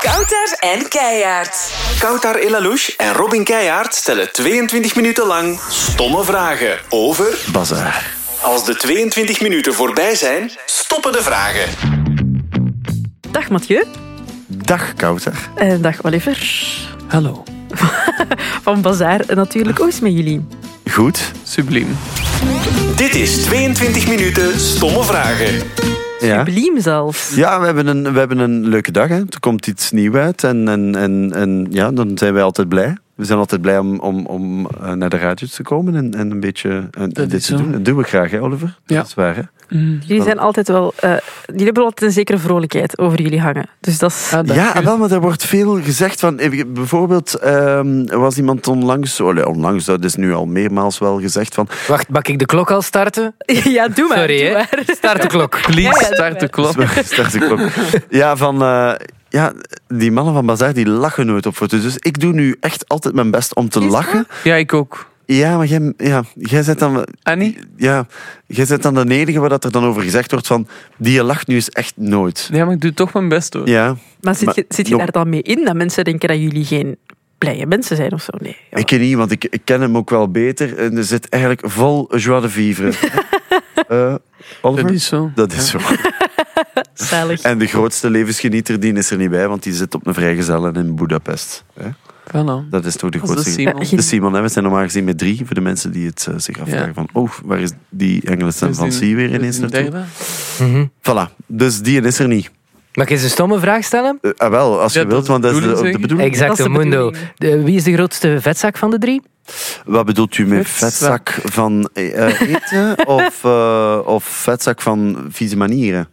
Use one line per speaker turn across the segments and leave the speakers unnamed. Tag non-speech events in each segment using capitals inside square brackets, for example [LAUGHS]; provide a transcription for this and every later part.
Kouter en Keijaard.
Koutar Elalouche en Robin Keijaard stellen 22 minuten lang stomme vragen over...
Bazaar.
Als de 22 minuten voorbij zijn, stoppen de vragen.
Dag Mathieu.
Dag Kouter.
En dag Oliver.
Hallo.
[LAUGHS] Van Bazaar natuurlijk. Hoe is het met jullie?
Goed.
Subliem.
Dit is 22 minuten stomme vragen.
Ja.
Bliem zelfs.
Ja, we hebben, een, we hebben een leuke dag. Hè. Er komt iets nieuws uit en, en, en, en ja, dan zijn wij altijd blij. We zijn altijd blij om, om, om eh, naar de radio te komen en, en een beetje eh,
Dat
dit
is
te
zo.
doen. Dat doen we graag, hè, Oliver?
Ja.
Dat is waar, hè?
Jullie zijn altijd wel... eh, jullie hebben altijd een zekere vrolijkheid over jullie hangen. Dus dat is...
Ah, dank
Ja,
u.
wel, maar er wordt veel gezegd van... eh, Bijvoorbeeld ehm, er was iemand onlangs... oh, nee, onlangs, dat is nu al meermaals wel gezegd van...
Wacht, mag ik de klok al starten?
[LAUGHS] Ja, doe maar.
Sorry,
doe
hè.
maar.
[LAUGHS] Start de klok.
Please
Ja, ja,
start de klok.
Start de klok. Ja, van... eh, ja, die mannen van Bazaar die lachen nooit op foto's. Dus ik doe nu echt altijd mijn best om te lachen.
Ja, ik ook.
Ja, maar jij, ja, jij zet dan...
Annie?
Ja, jij zet dan de enige waar dat er dan over gezegd wordt van... Die lacht nu is echt nooit.
Ja, maar ik doe toch mijn best hoor.
Ja,
Maar zit je,
Maar-
zit je
Jong-
daar dan mee in dat mensen denken dat jullie geen blije mensen zijn of zo? Nee. ja.
ik ken niet, want ik, ik ken hem ook wel beter. En er zit eigenlijk vol joie de vivre. Eh, Oliver?
Dat is zo.
Dat is zo.
Zalig.
En de grootste levensgenieter die is er niet bij, want die zit op een vrijgezellen in Budapest. hè?
Voilà.
Dat is toch de
Dat is
grootste.
de Simon.
Ja,
De Simon, hè, we zijn normaal gezien met drie, voor de mensen die het eh, zich afvragen
Ja.
van, oh, waar is die Engelse
Dat is
van
Dus die-
Sea weer
dat is
ineens
die
naartoe?
derde.
Voilà, dus die is er niet.
Mhm. Mag ik eens een stomme vraag stellen?
Eh, ah, wel, als
Ja,
je
dat
wilt,
is
want
de
dat is de, ook de
bedoeling,
bedoeling.
Dat is
Exacto
de
mundo.
bedoeling.
De- wie is de grootste vetzak van de drie?
Wat bedoelt u met
Vetzak.
vetzak van eh,
[LAUGHS]
eten of, eh, of vetzak van vieze manieren?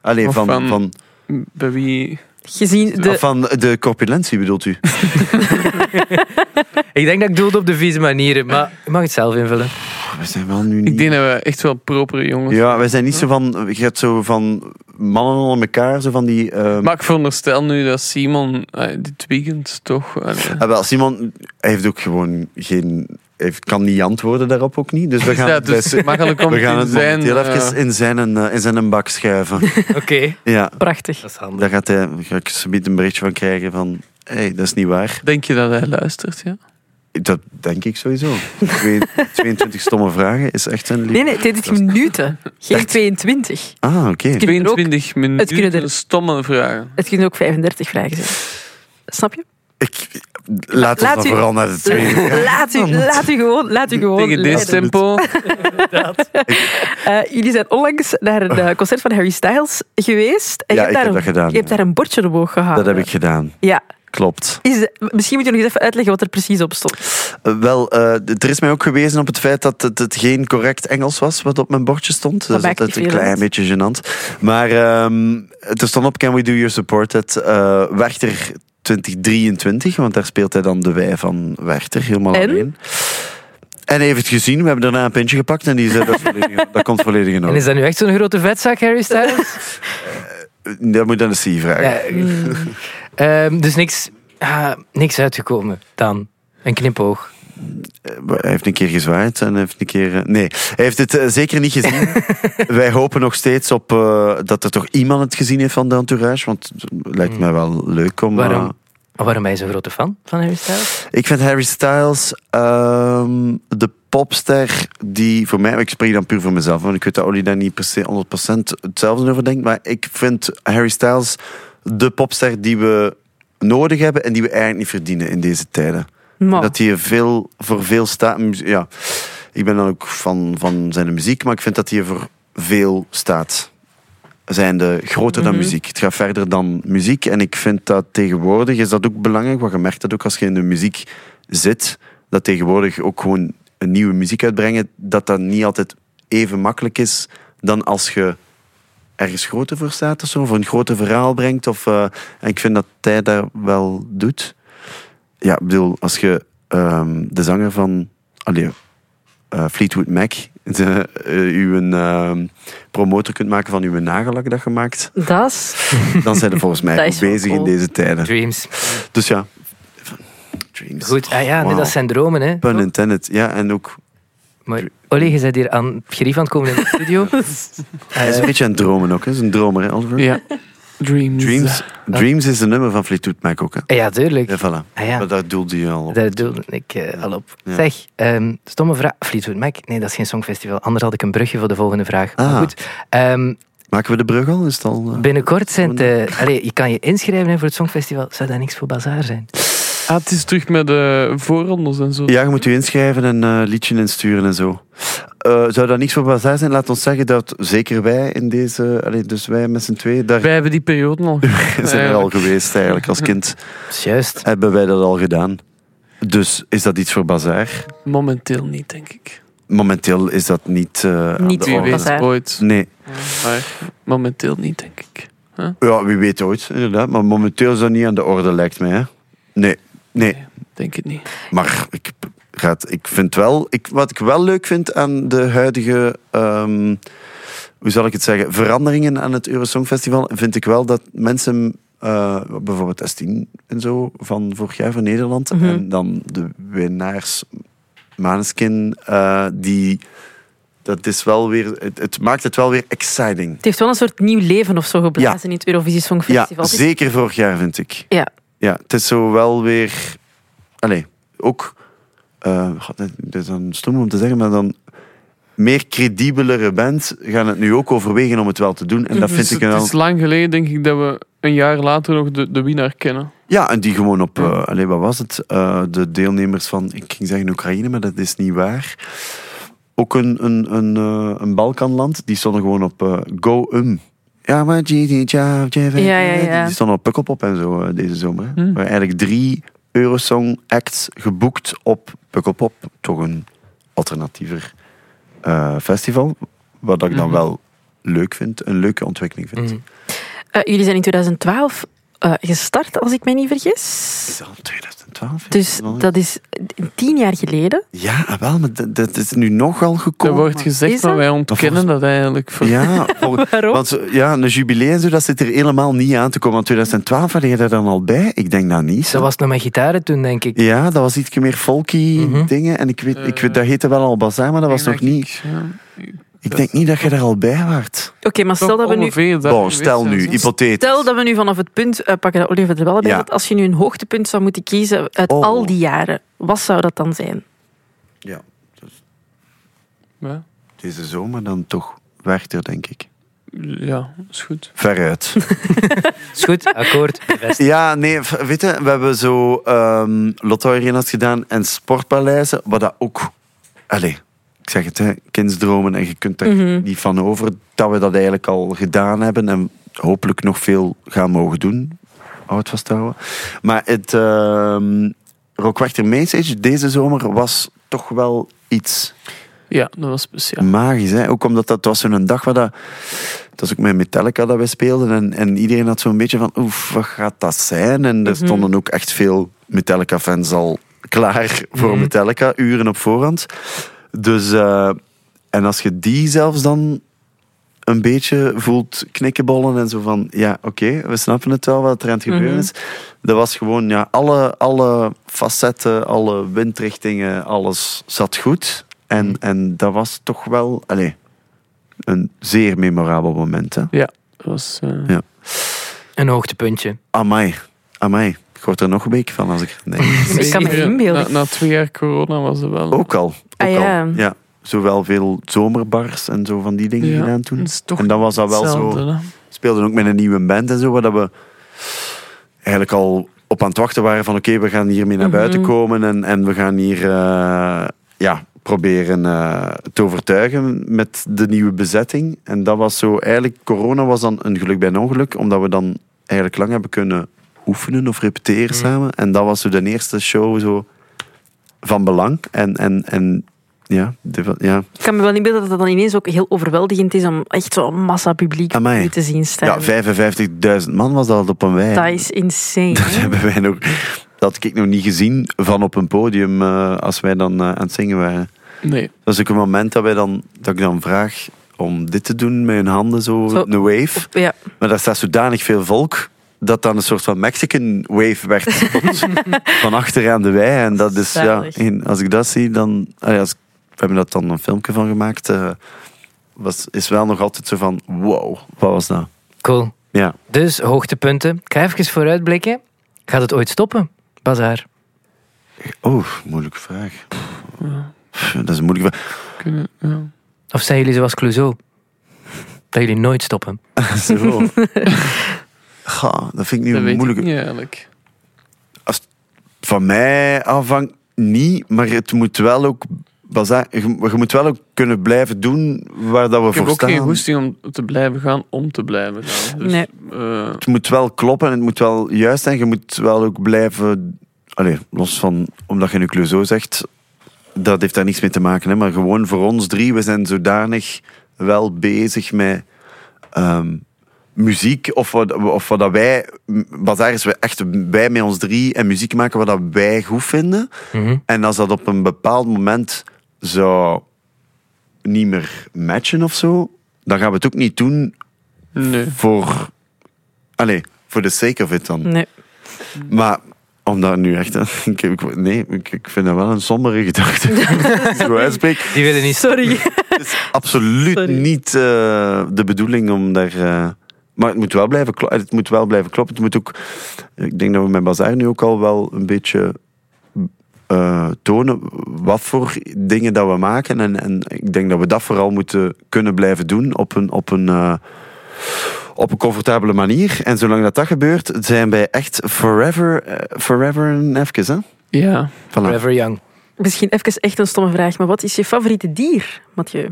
Allee,
Of
van,
van-
van, van,
Bij wie?
Gezien de...
de corpulentie bedoelt u?
Ik denk dat ik doelde op de vieze manieren, maar Eh, je mag het zelf invullen.
Oh,
We zijn wel nu
Ik
niet...
denk dat we echt wel propere jongens
Ja, wij zijn niet zo van... Je hebt zo van mannen onder elkaar, zo van die... eh,
Maar ik veronderstel nu dat Simon eh, dit weekend toch... allee.
Ah, wel, Simon hij heeft ook gewoon geen... Hij heeft- kan niet antwoorden daarop ook niet. Dus we gaan
[LAUGHS] ja,
het,
dus
bij-
makkelijk om
we gaan
het
het
in zijn...
momenteel
eh,
even in zijn, eh, in zijn bak
[LAUGHS]
schuiven.
Oké,
ja,
Prachtig.
dat is handig.
daar gaat hij, daar ga ik zo meteen een berichtje van krijgen van... Hé, hey, dat is niet waar.
Denk je dat hij luistert, ja?
Dat denk ik sowieso. Twee-
[LAUGHS]
22 stomme vragen is echt een... lief-
Nee, nee, 22 minuten. Geen 22.
Ah, oké.
kunnen er ook-
22 minuten
kunnen er-
stomme vragen.
Het kunnen ook 35 vragen zijn. Snap je?
Ik- Laat ons
Laat
dan
u-
vooral naar de
[LAUGHS]
tweede.
Laat u, laat u gewoon, laat u gewoon
Tegen dit
leiden.
tempo.
Eh, jullie zijn onlangs naar een
[LAUGHS]
eh, concert van Harry Styles geweest. En
Ja,
je
ik
hebt daar
heb
een,
dat gedaan,
Je hebt
ja.
daar een bordje omhoog gehouden.
Dat heb ik gedaan.
Ja.
Klopt.
Is de- misschien moet je nog eens even uitleggen wat er precies op stond.
Eh, Wel, eh, d- er is mij ook gewezen op het feit dat het, het geen correct Engels was wat op mijn bordje stond. Dat is
maakt
altijd
niet
een
veel
klein
uit.
beetje gênant. Maar ehm, er stond op Can We Do Your Support het eh Werchter 2023, want daar speelt hij dan de wij van Werchter, helemaal
En?
alleen. En hij heeft het gezien, we hebben daarna een pintje gepakt en die zei
[LAUGHS]
dat, is volledig- dat komt volledig in
En is
orde.
dat nu echt zo'n grote vetzak, Harry Styles?
Dat moet je aan de C vragen.
[LAUGHS] Ja. Ehm, dus niks, ah, niks uitgekomen dan. Een knipoog.
Hij Eh, heeft een keer gezwaaid en hij heeft een keer. eh, Nee, hij heeft het eh, zeker niet gezien. Wij hopen nog steeds op eh, dat er toch iemand het gezien heeft van de entourage. Want het lijkt mij wel leuk om. eh,
Waarom? Waarom ben je zo'n grote fan van Harry Styles?
ik vind Harry Styles ehm, de popster die voor mij. Ik spreek dan puur voor mezelf, want ik weet dat Olly daar niet per se 100% hetzelfde over denkt. Maar ik vind Harry Styles de popster die we nodig hebben en die we eigenlijk niet verdienen in deze tijden.
Maar,
Dat hij er veel, voor veel staat. Ja, ik ben dan ook van, van zijn muziek, maar ik vind dat hij er voor veel staat. Zijnde groter dan muziek. Het gaat verder dan muziek. En ik vind dat tegenwoordig is dat ook belangrijk. Want je merkt dat ook als je in de muziek zit, dat tegenwoordig ook gewoon een nieuwe muziek uitbrengen, dat dat niet altijd even makkelijk is dan als je ergens groter voor staat of zo, of een groter verhaal brengt. Of, eh, en ik vind dat hij daar wel doet. Ja, ik bedoel, als je ehm, de zanger van allee, eh, Fleetwood Mac, [LAUGHS] de, eh, uw ehm, promotor kunt maken van uw nagellak dat je maakt,
dat is...
dan zijn we volgens
[LAUGHS]
mij
Dat
ook
is wel
bezig
cool.
in deze tijden.
Dreams.
Dus ja, dreams.
Goed, Eh. ah ja, nee,
Wauw.
dat zijn dromen, hè.
Pun intended, ja, en ook...
Maar Olly, je bent hier aan het gerief aan het komen in de studio. Ah,
Hij is een beetje aan het dromen ook, hè. Hij is een dromer, hè, Oliver?
Ja. Dreams.
Dreams, Dreams is de nummer van Fleetwood Mac ook. Hè?
Ja, tuurlijk.
Ja, voilà.
Ah, ja.
Maar daar doelde je al op.
Daar doelde ik eh, al op.
Ja.
Zeg, ehm, stomme vraag. Fleetwood Mac? Nee, dat is geen songfestival. Anders had ik een brugje voor de volgende vraag.
Ah.
Maar goed, ehm,
Maken we de brug al? Is het al eh?
binnenkort zijn het... eh, allee, je kan je inschrijven hè, voor het songfestival. Zou dat niks voor Bazaar
[LAUGHS]
zijn?
Ah, het is terug met de voorrondes en zo.
Ja, je moet je inschrijven en eh, liedje insturen en zo. Eh, zou dat niks voor bazaar zijn? Laat ons zeggen dat zeker wij in deze... allee, dus wij met z'n twee, daar
Wij hebben die periode al.
[LAUGHS] zijn we al geweest eigenlijk. Als kind
Dat is juist.
hebben wij dat al gedaan. Dus is dat iets voor bazaar?
Momenteel niet, denk ik.
Momenteel is dat niet... eh, aan
Niet
de
Wie
orde.
voor
weet
Bazaar.
ooit.
Nee.
Maar momenteel niet, denk ik.
Ja, wie weet ooit, inderdaad. Maar momenteel is dat niet aan de orde, lijkt mij. Hè? Nee. Nee.
Denk het niet.
Maar ik, gaat, ik vind wel, ik, wat ik wel leuk vind aan de huidige, ehm, hoe zal ik het zeggen, veranderingen aan het Eurosongfestival, vind ik wel dat mensen, eh, bijvoorbeeld S10 en zo, van vorig jaar van Nederland,
Mhm.
en dan de winnaars Maneskin, eh, die, dat is wel weer, het, het maakt het wel weer exciting.
Het heeft wel een soort nieuw leven of zo geblazen in het Eurovisie
Ja,
Songfestival. Dus, Het is-
zeker vorig jaar vind ik.
Ja.
Ja, het is zo wel weer... Allee, ook... eh, god, dit is dan stom om te zeggen, maar dan... Meer credibelere bands gaan het nu ook overwegen om het wel te doen. En dat vind
het,
ik
is, Mhm. Dus het
wel...
is lang geleden, denk ik, dat we een jaar later nog de, de winnaar kennen.
Ja, en die gewoon op... eh allee, wat was het? Eh, de deelnemers van... Ik ging zeggen Oekraïne, maar dat is niet waar. Ook een, een, een, eh, een Balkanland. Die stonden gewoon op eh, Go Um. Ja, maar... Ja, ja,
Ja, ja, ja.
Die stonden op Pukkelpop en zo eh, deze zomer. hè.
Hm.
Er waren eigenlijk drie Eurosong acts geboekt op Pukkelpop. Toch een alternatiever eh, festival. Wat ik dan
Mhm.
wel leuk vind. Een leuke ontwikkeling vind.
Mm.
Eh, jullie zijn in 2012 eh, gestart, als ik mij niet vergis.
Is dat al 2012?
Dus dat is tien jaar geleden.
Ja, ah, wel, maar dat, dat is nu nogal
Er
gekomen.
wordt gezegd,
Is
maar
dat?
wij ontkennen dat eigenlijk. Voor... [LAUGHS]
Ja, voor-
[LAUGHS] Waarom?
want eh, ja, een jubileum en zo, dat zit er helemaal niet aan te komen. Want 2012 had je daar dan al bij? Ik denk dat niet.
Dat was nog met gitaren toen, denk ik.
Ja, dat was iets meer folky
Mhm.
dingen. En ik weet, ik weet,
Eh,
dat heette wel al Bazaar, maar dat was
Ik denk
nog niet...
ik, ja.
Ik denk niet dat je daar al bij waart.
Oké, maar stel
Toch
dat we nu...
ongeveer daar
Bon,
geweest
stel
zijn,
nu,
zo.
hypothetisch.
Stel dat we nu vanaf het punt eh, pakken dat Oliver er wel bij
Ja.
zat. Als je nu een hoogtepunt zou moeten kiezen uit
Oh.
al die jaren, wat zou dat dan zijn?
Ja,
Ja.
deze zomer dan toch Werchter, denk ik.
ja, is goed.
Veruit.
Is goed, akkoord, bevestigd.
ja, nee, v- weet je, we hebben zo ehm Lotto Arena's gedaan en sportpaleizen, wat dat ook... Allee, ik zeg het, hè, kindsdromen en je kunt er
Mhm.
niet van over dat we dat eigenlijk al gedaan hebben en hopelijk nog veel gaan mogen doen. Oud vasthouden. Maar het ehm Rockwachter Message deze zomer was toch wel iets
Ja, dat was speciaal.
Magisch, hè? Ook omdat dat het was zo'n dag waar dat... Dat is ook met Metallica dat wij speelden. En, en iedereen had zo'n beetje van... Oef, wat gaat dat zijn? En er stonden ook echt veel Metallica-fans al klaar voor
Mhm.
Metallica. Uren op voorhand. Dus... eh, en als je die zelfs dan een beetje voelt knikkenbollen en zo van... Ja, oké, we snappen het wel wat er aan het gebeuren
Mhm.
is. Dat was gewoon... Ja, alle, alle facetten, alle windrichtingen, alles zat goed. En,
Mhm.
en dat was toch wel... Allez, een zeer memorabel moment, hè.
Dat was, eh,
Ja.
Een
[LAUGHS]
hoogtepuntje.
Amai. Amai. Ik word er nog een beetje van als ik er
[LAUGHS]
denk.
Ik kan me
zeker- eh,
inbeelden.
Na, na twee jaar corona was het wel.
Ook al. Ook
Ah, ja.
al. Ja. Zowel veel zomerbars en zo van die dingen
Ja,
gedaan toen.
het is toch
En dan was dat wel zo...
hetzelfde, hè.
speelden ook met een nieuwe band en zo, waar dat we eigenlijk al op aan het wachten waren van oké, we gaan hiermee naar buiten
Mhm.
komen en, en we gaan hier eh, ja, proberen eh, te overtuigen met de nieuwe bezetting. En dat was zo, eigenlijk corona was dan een geluk bij een ongeluk, omdat we dan eigenlijk lang hebben kunnen oefenen of repeteren
Mhm.
samen. En dat was zo de eerste show zo van belang. En, en, en ja, dit wa- ja,
Ik kan me wel inbeelden dat dat dan ineens ook heel overweldigend is om echt zo'n massa publiek op
Amai.
je te zien
ja
staan.
55.000 man was dat op een wei.
dat is insane.
[LAUGHS] Dat hebben wij nog. Dat had ik nog niet gezien van op een podium eh, als wij dan eh, aan het zingen waren.
Nee,
Dat is ook een moment dat, wij dan, dat ik dan vraag om dit te doen met hun handen, zo,
Zo.
een wave.
Ja.
Maar daar staat zodanig veel volk dat dan een soort van Mexican wave werd tot van achter aan de wei. En dat is, ja,
Zalig.
en als ik dat zie, dan. ah ja, als, we hebben dat dan een filmpje van gemaakt. eh, was, is wel nog altijd zo van: wow, wat was dat?
Cool.
Ja.
Dus hoogtepunten. Ik ga even vooruitblikken. Gaat het ooit stoppen? Bazaar.
Oeh, Oh, moeilijke vraag. Pff, Dat is een moeilijke vraag.
Kunnen, ja.
Of zijn jullie zoals Clouseau? Dat jullie nooit stoppen.
[LAUGHS] Zo. Ga, dat vind ik nu
Dat
een
weet ik
moeilijke.
niet eigenlijk.
Van mij afhangt niet, maar het moet wel ook... baza- Je je moet wel ook kunnen blijven doen waar dat we
Ik heb
voor
ook
staan.
geen goesting om te blijven gaan, om te blijven gaan. Dus,
Nee.
eh,
het moet wel kloppen en het moet wel juist zijn. Je moet wel ook blijven. Allee, los van omdat je nu Clouseau zegt, dat heeft daar niks mee te maken. Hè? Maar gewoon voor ons drie, we zijn zodanig wel bezig met ehm, muziek. Of wat, of wat dat wij. Bazaar is wij echt wij met ons drie en muziek maken wat dat wij goed vinden.
Mhm.
En als dat op een bepaald moment zou niet meer matchen of zo, dan gaan we het ook niet doen
nee.
voor. Allee, voor de sake of it dan.
Nee.
Maar om daar nu echt. Ik, ik- nee, ik, ik vind dat wel een sombere gedachte. Zo uitspreek.
Die willen niet
Sorry.
[LAUGHS] Het is absoluut
Sorry.
niet eh, de bedoeling om daar. eh, maar het moet, wel blijven klo- het moet wel blijven kloppen. Het moet ook, ik denk dat we met Bazaar nu ook al wel een beetje eh, tonen wat voor dingen dat we maken. En, en ik denk dat we dat vooral moeten kunnen blijven doen op een, op een, eh, op een comfortabele manier. En zolang dat dat gebeurt, zijn wij echt forever, eh, forever en even. Hè?
Ja,
Voilà.
forever young.
Misschien even echt een stomme vraag, maar wat is je favoriete dier, Mathieu?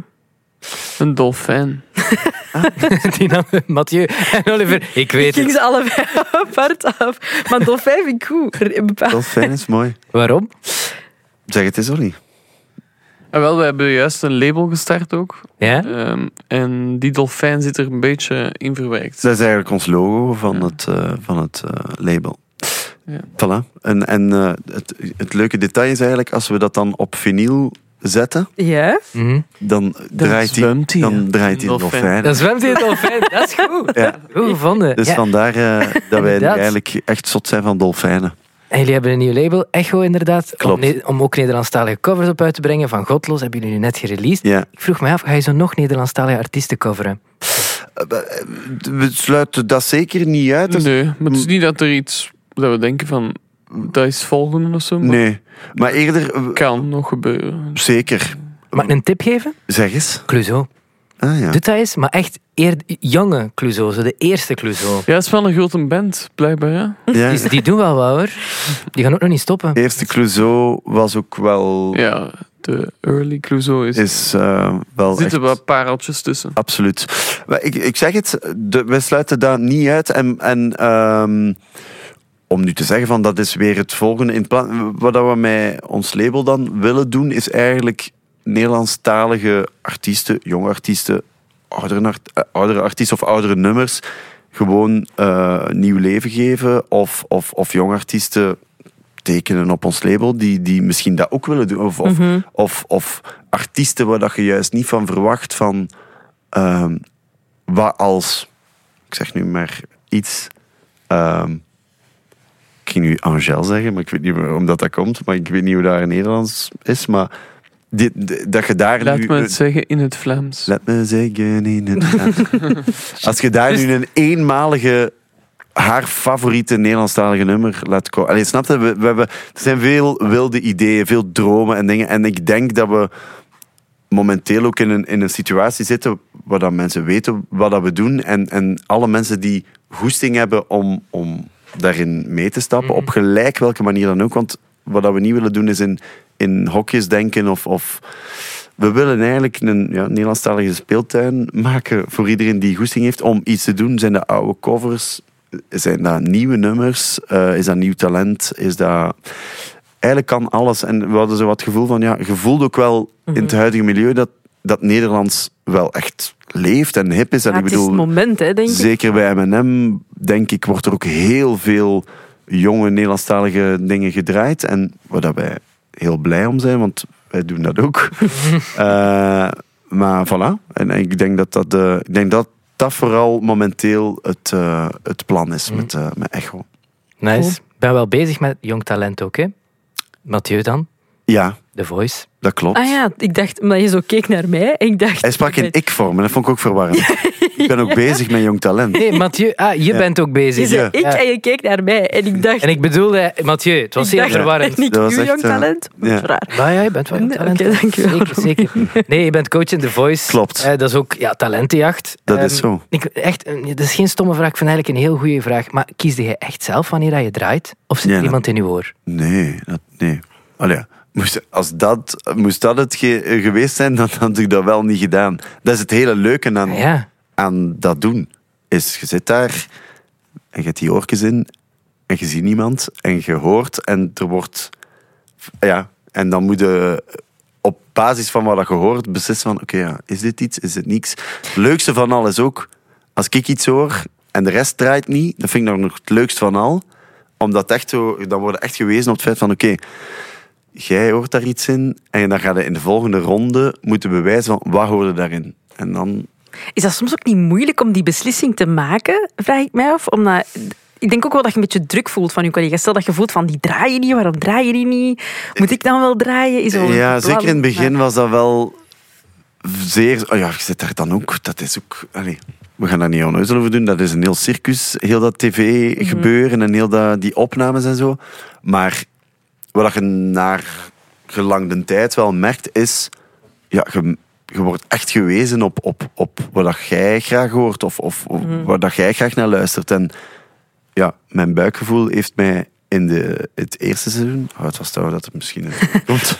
een dolfijn.
[LAUGHS] Die namen Mathieu
[LAUGHS]
en Oliver. Ik weet
Ging
het.
ze allebei [LAUGHS] apart af. Maar dolfijn vind ik goed. Er- bepaal-
Dat is fijn, is mooi.
Waarom?
Zeg het eens, Olly.
En Ah, wel, we hebben juist een label gestart ook.
Ja?
Ehm, en die dolfijn zit er een beetje in verwerkt.
Dat is eigenlijk ons logo van het, eh, van het eh, label.
Ja.
Voilà. En, en eh, het, het leuke detail is eigenlijk, als we dat dan op vinyl zetten,
Ja?
Mhm.
dan draait hij
zwemt hij, hè?
dan draait hij een
Dolfijn.
dolfijn.
Dan zwemt hij het al
[LAUGHS]
fijn. Dat is goed.
Ja.
Goed gevonden.
Dus
Ja.
vandaar eh,
[LAUGHS]
dat wij
Inderdaad.
eigenlijk echt zot zijn van dolfijnen.
En jullie hebben een nieuw label, Echo inderdaad.
Klopt.
Om, ne- om ook Nederlandstalige covers op uit te brengen. Van Godlos hebben jullie nu net gereleased.
Ja.
Ik vroeg me af, ga je zo nog Nederlandstalige artiesten coveren?
We sluiten dat zeker niet uit. Er
Nee, maar het is niet dat er iets dat we denken van dat is volgende of zo. Maar
Nee, maar eerder... eh,
kan nog gebeuren.
Zeker.
Mag ik een tip geven?
Zeg eens.
Clouseau.
Ah, ja.
Doet dat eens, maar echt eer, jonge Clouseau. Zo de eerste Clouseau.
Ja, het is wel een grote band, blijkbaar. Hè?
ja.
Die, die doen wel wat hoor. Die gaan ook nog niet stoppen.
Eerste Clouseau was ook wel...
Ja, de early Clouseau is.
Is eh, wel
er zitten
echt-
wel pareltjes tussen.
Absoluut. Maar Ik, ik zeg het, de, we sluiten dat niet uit. En, en ehm, om nu te zeggen van dat is weer het volgende. In plaats, wat dat we met ons label dan willen doen, is eigenlijk Nederlandstalige artiesten, jonge artiesten, oudere, art- eh, oudere artiesten of oudere nummers gewoon eh, nieuw leven geven. Of, of, of jonge artiesten tekenen op ons label die, die misschien dat ook willen doen.
Mhm.
Of, of,
Hm.
of, of artiesten waar dat je juist niet van verwacht van ehm, wat als, ik zeg nu maar iets, ehm, ik ging nu Angel zeggen, maar ik weet niet meer omdat dat komt, maar ik weet niet hoe dat in Nederlands is, maar dit, d- dat je daar
Laat
nu...
me het zeggen in het Vlaams.
Laat me zeggen in het- Als je daar nu een eenmalige haar favoriete Nederlandstalige nummer laat komen. Allee, snap je? We, we hebben, er zijn veel wilde ideeën, veel dromen en dingen. En ik denk dat we momenteel ook in een, in een situatie zitten waar dat mensen weten wat dat we doen. En, en alle mensen die goesting hebben om, om daarin mee te stappen, op gelijk welke manier dan ook. Want wat dat we niet willen doen is in, in hokjes denken of... of we willen eigenlijk een ja, Nederlandstalige speeltuin maken voor iedereen die goesting heeft om iets te doen. Zijn dat oude covers? Zijn dat nieuwe nummers? Eh, is dat nieuw talent? Is dat... Eigenlijk kan alles. En we hadden zo wat het gevoel van, ja, je voelt ook wel in
Mhm.
het huidige milieu dat, dat Nederlands wel echt leeft en hip is. En
Ja,
ik
Ah, het is
bedoel,
het moment, hè, denk ik.
Zeker bij M&M, denk ik, wordt er ook heel veel jonge Nederlandstalige dingen gedraaid. En waar dat wij heel blij om zijn, want wij doen dat ook.
[LAUGHS]
Eh, maar voilà. En ik denk dat dat, eh, ik denk dat, dat vooral momenteel het, eh, het plan is
Mhm.
met, eh, met Echo.
Nice. Ik ben wel bezig met jong talent ook, hè? Mathieu dan.
Ja,
The Voice.
Dat klopt.
Ah ja, ik dacht, omdat je zo keek naar mij, ik dacht...
Hij sprak
ik
in
ben-
ik-vorm en dat vond ik ook verwarrend.
[LAUGHS]
Ik ben ook bezig met jong talent.
Nee, Mathieu, ah, je
[LAUGHS] Ja.
bent ook
Je
bezig.
zei ik
Ja.
en je keek naar mij. En ik dacht...
En ik bedoelde, Mathieu, het was
ik
zeer
dacht,
verwarrend.
En ik
Dat was
uw
echt,
jong
eh,
talent. Dat is
ja.
raar.
[LAUGHS] Ja, ja, je bent wel een
Nee,
talent.
oké, dank je wel,
Zeker, zeker. Nee, je bent coach in The Voice.
Klopt.
Eh, dat is ook ja, talentenjacht.
Dat
Ehm,
is zo.
Ik, echt, eh, dat is geen stomme vraag. Ik vind eigenlijk een heel goede vraag. Maar kiesde je echt zelf wanneer dat je draait? Of zit
Ja,
er
dat-
iemand in je oor?
Nee, dat, nee. Allee, ja. moest, als dat, moest dat het ge- eh, geweest zijn, dan had ik dat wel niet gedaan. Dat is het hele leuke aan,
Ah Ja.
aan dat doen. Is, je zit daar en je hebt die oortjes in en je ziet niemand en je hoort en er wordt... Ja, en dan moet je op basis van wat dat je hoort beslissen van oké, ja, is dit iets, is dit niks? Het leukste van al is ook, als ik iets hoor en de rest draait niet, dat vind ik nog het leukst van al. Omdat echt zo, dan worden echt gewezen op het feit van oké, jij hoort daar iets in en dan ga je in de volgende ronde moeten bewijzen van wat hoorde daarin. En dan
Is dat soms ook niet moeilijk om die beslissing te maken, vraag ik mij af? Omdat, ik denk ook wel dat je een beetje druk voelt van je collega's. Stel dat je voelt van, die draaien niet, waarom draai je die niet? Moet ik dan wel draaien? Is wel-
Ja, zeker in het begin was dat wel zeer... Oh ja, je zit daar dan ook... Dat is ook... Allee, we gaan daar niet onneuzel over doen. Dat is een heel circus. Heel dat tv-gebeuren en heel dat, die opnames en zo. Maar wat je naar gelang de tijd wel merkt, is... Ja, je, je wordt echt gewezen op, op, op wat dat jij graag hoort of, of, of waar dat jij graag naar luistert. En ja, mijn buikgevoel heeft mij in de, het eerste seizoen, oh, het was trouwens dat het misschien een- komt,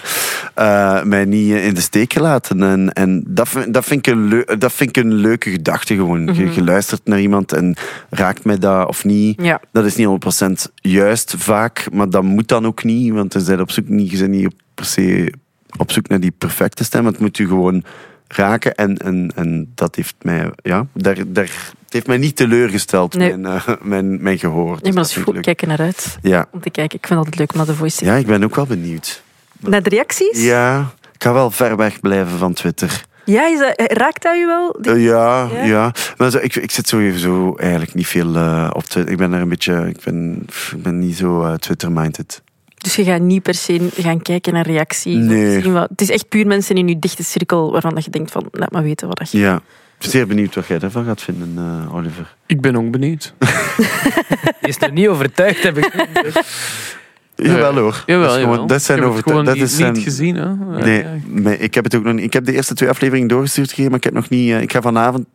eh, mij niet eh, in de steek gelaten. En, en dat, vind, dat, vind ik een leu- dat vind ik een leuke gedachte gewoon. Je, je luistert naar iemand en raakt mij dat of niet.
Ja.
Dat is niet 100% juist vaak, maar dat moet dan ook niet, want dan zijn je op zoek niet, je bent niet op- per se op zoek naar die perfecte stem. Het moet u gewoon raken en, en, en dat heeft mij, ja, daar, daar, het heeft mij niet teleurgesteld,
Nee.
mijn, eh, mijn, mijn gehoor.
Nee, maar dat is
vind
goed.
ik
Ik
leuk.
kijk er naar uit
Ja.
om te kijken. Ik vind het altijd leuk om naar de voice te
ja, ik ben ook wel benieuwd.
Naar de reacties?
Ja, ik ga wel ver weg blijven van Twitter.
Ja, is dat- raakt dat je wel? Die-
Eh, ja,
Ja?
ja, Maar zo, ik, ik zit sowieso eigenlijk niet veel eh, op Twitter. Ik ben daar een beetje, ik ben, pff, ik ben niet zo eh, Twitter-minded.
Dus je gaat niet per se gaan kijken naar reacties.
Nee.
Misschien wel- Het is echt puur mensen in je dichte cirkel waarvan dat je denkt van, laat maar weten wat dat je...
Ja. Zeer benieuwd wat jij daarvan gaat vinden, eh, Oliver.
Ik ben ook benieuwd.
Die is nog niet overtuigd, heb [LAUGHS] ik.
Jawel hoor.
Jawel,
dat, is gewoon-
jawel.
dat zijn
Ik heb het
overtuigd-
gewoon
dat is
niet, niet
zijn-
gezien, hè? Ja,
Nee,
ja.
nee, ik heb het ook nog niet. Ik heb de eerste twee afleveringen doorgestuurd gegeven, maar ik heb nog niet. eh, ik ga vanavond.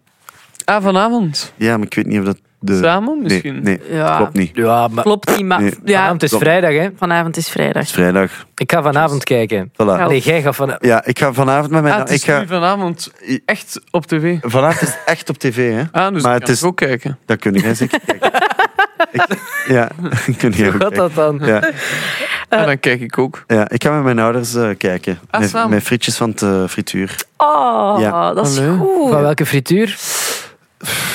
Ah, vanavond.
Ja, maar ik weet niet of dat de.
Samen
Eh, nee,
misschien?
nee,
Ja.
klopt niet. Het
Ja, maar
Klopt niet, maar
Nee.
ja,
vanavond is
Klopt.
vrijdag, hè.
vanavond is vrijdag.
is vrijdag.
Ik ga vanavond kijken.
Voilà.
Ja.
Nee, jij gaat vanavond...
Ja, ik ga vanavond met mijn.
Ah, het is
ik ga,
nu vanavond echt op tv.
vanavond is het echt op tv, hè?
Ah, dus
maar
ik
het
kan
is.
het ook kijken.
Dat kun jij
[LAUGHS]
zeker kijken. ik, ja, [LAUGHS] kun jij ook
Wat
kijken.
dat dan?
Ja, Eh,
ah, dan kijk ik ook.
ja, ik ga met mijn ouders eh, kijken.
Ah,
met,
samen.
met frietjes van het eh, frituur.
Oh,
Ja.
dat is
Hallo.
goed.
Van welke frituur?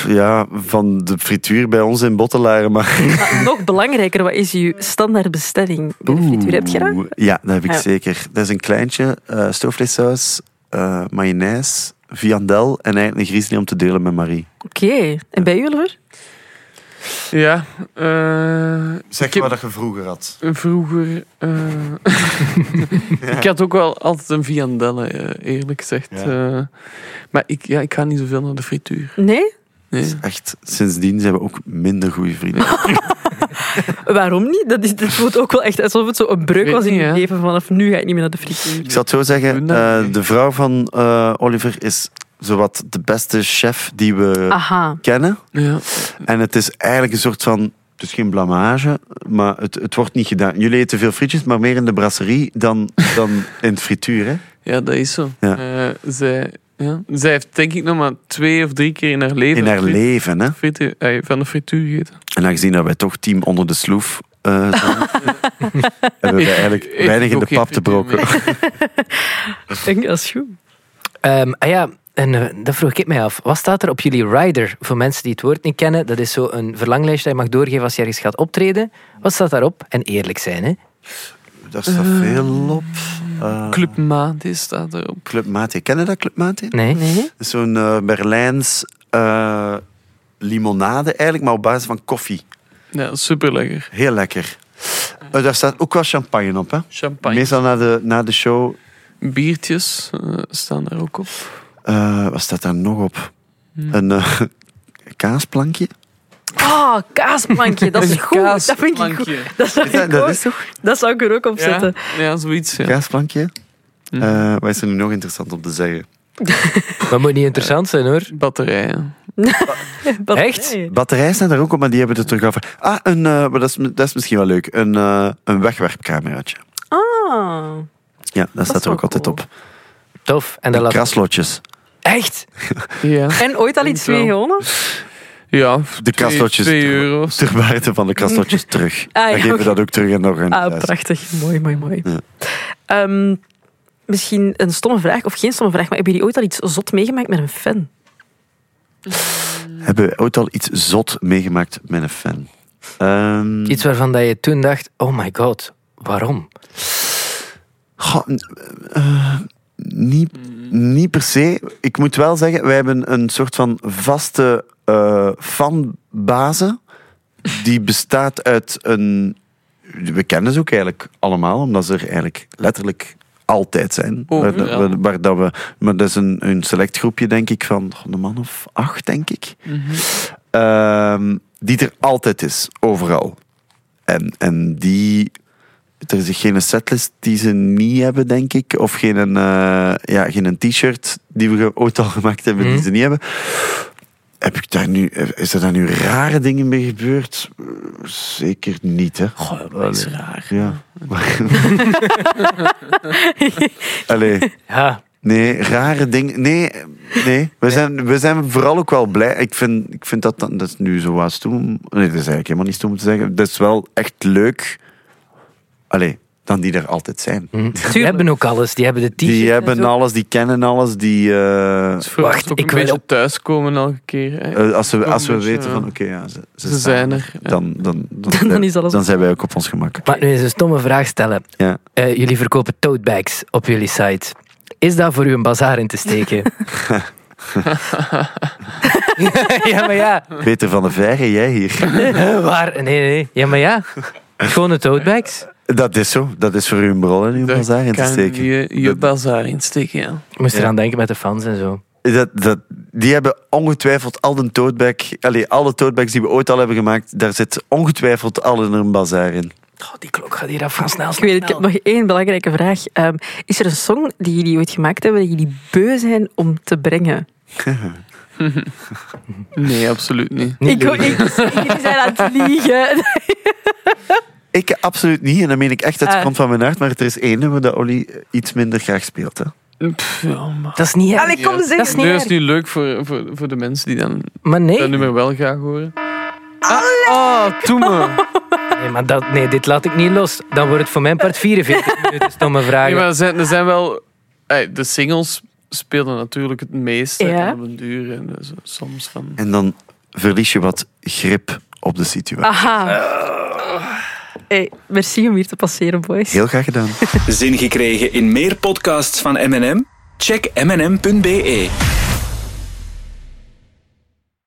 Ja, van de frituur bij ons in Bottelaren. Maar
Maar nog belangrijker, wat is uw standaardbestelling bij de frituur? Heb je dat?
Oeh, Ja, dat heb ik
Ja.
zeker. Dat is een kleintje, eh stoofvleessaus, eh, mayonaise, viandel en eigenlijk een grizzly om te delen met Marie.
Oké. En bij u, Oliver?
Ja. eh, ik heb
je vroeger had.
Vroeger... eh, [LAUGHS] ik had ook wel altijd een viandelle, eh, eerlijk gezegd.
Ja.
Eh, maar ik, ja, ik ga niet zoveel naar de frituur.
Nee?
Nee.
Echt, sindsdien zijn we ook minder goede
[LAUGHS]
vrienden.
Waarom niet? Dat, is, dat voelt ook wel echt alsof het zo een breuk
Weet
was in
niet,
je
hè.
leven. Vanaf nu ga ik niet meer naar de frituur.
Ik zal het zo zeggen,
Doe dat.
eh, de vrouw van eh, Oliver is zowat de beste chef die we
Eh. Aha.
kennen.
Ja.
En het is eigenlijk een soort van... Het is geen blamage, maar het, het wordt niet gedaan. Jullie eten veel frietjes, maar meer in de brasserie dan,
[LAUGHS]
dan in het frituur, hè?
ja, dat is zo.
Ja.
Eh, zij, ja. zij heeft denk ik nog maar twee of drie keer in haar leven...
In haar
frit-
leven, hè?
frituur- eh, van de frituur gegeten.
En aangezien dat wij toch team onder de sloef eh,
[LAUGHS]
zijn, hebben we
Ik-
eigenlijk
ik
weinig in
doe
de
geen
pap te
frituur
brokken.
Denk, dat is goed.
Ehm, ah ja, en eh, dat vroeg ik mij af. Wat staat er op jullie rider? Voor mensen die het woord niet kennen, dat is zo een verlanglijst dat je mag doorgeven als je ergens gaat optreden. Wat staat daarop? En eerlijk zijn, hè?
[LAUGHS] Daar staat veel op. Eh,
Club Maat staat erop.
Club Mate. Ken je dat, Club Mate?
Mm.
Nee.
Nee.
Dat is Zo'n eh, Berlijns eh, limonade eigenlijk, maar op basis van koffie.
Ja, super lekker.
Heel lekker. Eh, daar staat ook wel champagne op, hè?
Champagne.
Meestal na de, na de show.
Biertjes eh, staan daar ook op.
eh, wat staat daar nog op?
Hmm.
Een eh, [LAUGHS] kaasplankje?
Oh, kaasplankje, dat is goed. Dat vind ik goed.
Kaasplankje.
Dat zou, ik
Ja, dat
ook-
is
dat zou ik er ook op zetten.
Ja, ja, zoiets. Ja.
Kaasplankje?
Hmm.
Hm.
Eh, wat is er nu nog interessant om te zeggen?
Maar moet niet interessant zijn hoor.
Batterijen.
Wat-
Echt?
Nee.
Batterijen staan daar ook op, maar die hebben het er terug af. Ah, een, eh, maar dat, is, dat is misschien wel leuk. Een, eh, een wegwerpcameraatje.
Ah.
Ja, dat, staat er
wel
ook altijd
cool.
op.
Tof. En dat
En
laat...
kraslotjes.
Echt?
Ja.
En ooit al iets
Denk
mee
wel.
gewonnen?
ja
De
twee-
kraslotjes.
Twee euro's.
Ter waarde van de
[LAUGHS]
kraslotjes terug.
Ah, ja,
Dan geven we
oké.
dat ook terug en nog een.
Ah,
thuis.
prachtig. Mooi, mooi, mooi.
Ja.
Ehm, misschien een stomme vraag, of geen stomme vraag, maar hebben jullie ooit al iets zot meegemaakt met een fan?
Hebben we ooit al iets zot meegemaakt met een fan? Ehm,
Iets waarvan dat je toen dacht, oh my god, waarom?
Goh, n- eh, niet, niet per se. Ik moet wel zeggen, wij hebben een soort van vaste eh fanbase. Die bestaat uit een... We kennen ze ook eigenlijk allemaal, omdat ze er eigenlijk letterlijk altijd zijn.
Oh,
waar, dat-
ja.
waar- waar dat we, maar dat is een, een select groepje, denk ik, van goh, een man of acht, denk ik.
Mhm.
Ehm, die er altijd is, overal. En, en die er is geen setlist die ze niet hebben, denk ik. Of geen, eh, ja, geen t-shirt die we ge- ooit al gemaakt hebben, die
Mhm.
ze niet hebben. Heb ik daar nu, is er daar nu rare dingen mee gebeurd? Eh, Zeker niet, hè?
Goh, dat is
Allee.
raar.
Ja. [LAUGHS] Allee,
Ja,
nee, rare dingen. Nee, nee. We zijn, we zijn vooral ook wel blij. Ik vind, ik vind dat, dan- dat is nu zo wat stoem. Nee, dat is eigenlijk helemaal niet stoem om te zeggen. Dat is wel echt leuk. Allee, dan die er altijd zijn.
hm. die hebben ook alles. Die hebben de t-shirt.
Die eh,
en
hebben
zo.
alles, die kennen alles. Die, eh,
Het is voor ons
Wacht,
ook een
ik wil
beetje
op-
thuiskomen elke keer. hè.
eh, als we,
Wel
als we
een beetje,
weten van,
ja.
oké, ja, ze, ze
Ze
staan
zijn er. ja.
Dan, dan, dan,
Dan is alles-
dan zijn wij ook op ons gemak.
Maar nu eens een stomme vraag stellen.
Ja.
Eh, jullie verkopen tote bags op jullie site. Is dat voor u een bazaar in te
[LAUGHS]
steken? [LAUGHS] ja, maar ja. [LAUGHS]
Peter van der Verre, jij hier.
Eh, Waar? Nee, nee, nee. Ja, maar ja. Gewone tote bags.
Dat is zo. Dat is voor u een brol en uw
Daar
bazaar in te
kan
steken.
Je, je bazaar insteken, ja.
Ik moest
Ja.
eraan denken met de fans en zo.
Dat, dat, die hebben ongetwijfeld al de totebag, allee, alle totebags die we ooit al hebben gemaakt, daar zit ongetwijfeld al in een bazaar in.
Oh, die klok gaat hier af van snel.
Ik weet het, ik heb nog één belangrijke vraag. Ehm, is er een song die jullie ooit gemaakt hebben, dat jullie beu zijn om te brengen?
Nee, absoluut niet.
Ik hoor ik, jullie zijn aan het liegen.
Ik absoluut niet, en dan meen ik echt uit de
Ah.
grond van mijn hart, maar er is één nummer dat Olly iets minder graag speelt. Hè.
Pff, ja, maar...
Dat is niet erg.
Allee, kom, zeg
Dat is
het niet.
Nee, eh, dat is nu leuk voor, voor, voor de mensen die dan
Maar nee.
dat nummer wel graag horen. Ah, oh, doe me.
Nee, maar dat, nee, dit laat ik niet los. Dan wordt het voor mijn part 44 minuten stomme
Nee,
vragen.
maar er zijn, er zijn wel... Ey, de singles speelden natuurlijk het meeste
Ja.
en op een duur. En eh, zo- soms van...
En dan verlies je wat grip op de situatie.
Ah. Aha. Hey, merci om hier te passeren, boys.
Heel graag gedaan.
Zin gekregen in meer podcasts van M&M? Check mnm.be.